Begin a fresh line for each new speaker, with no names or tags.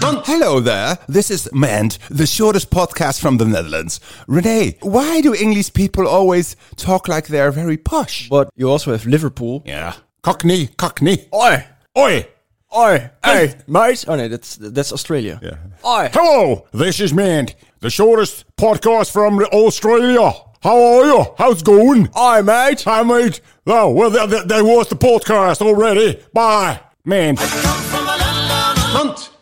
Dun- Hello there. This is Mand, the shortest podcast from the Netherlands. Renee, why do English people always talk like they're very posh?
But you also have Liverpool.
Yeah. Cockney, cockney.
Oi!
Oi!
Oi! Hey, mate! Oh no, that's that's Australia.
Yeah.
Oi!
Hello, this is Mand, the shortest podcast from Australia. How are you? How's going?
Oi, mate!
I made. Oh, well, there, there, there was the podcast already. Bye, man.
Hunt.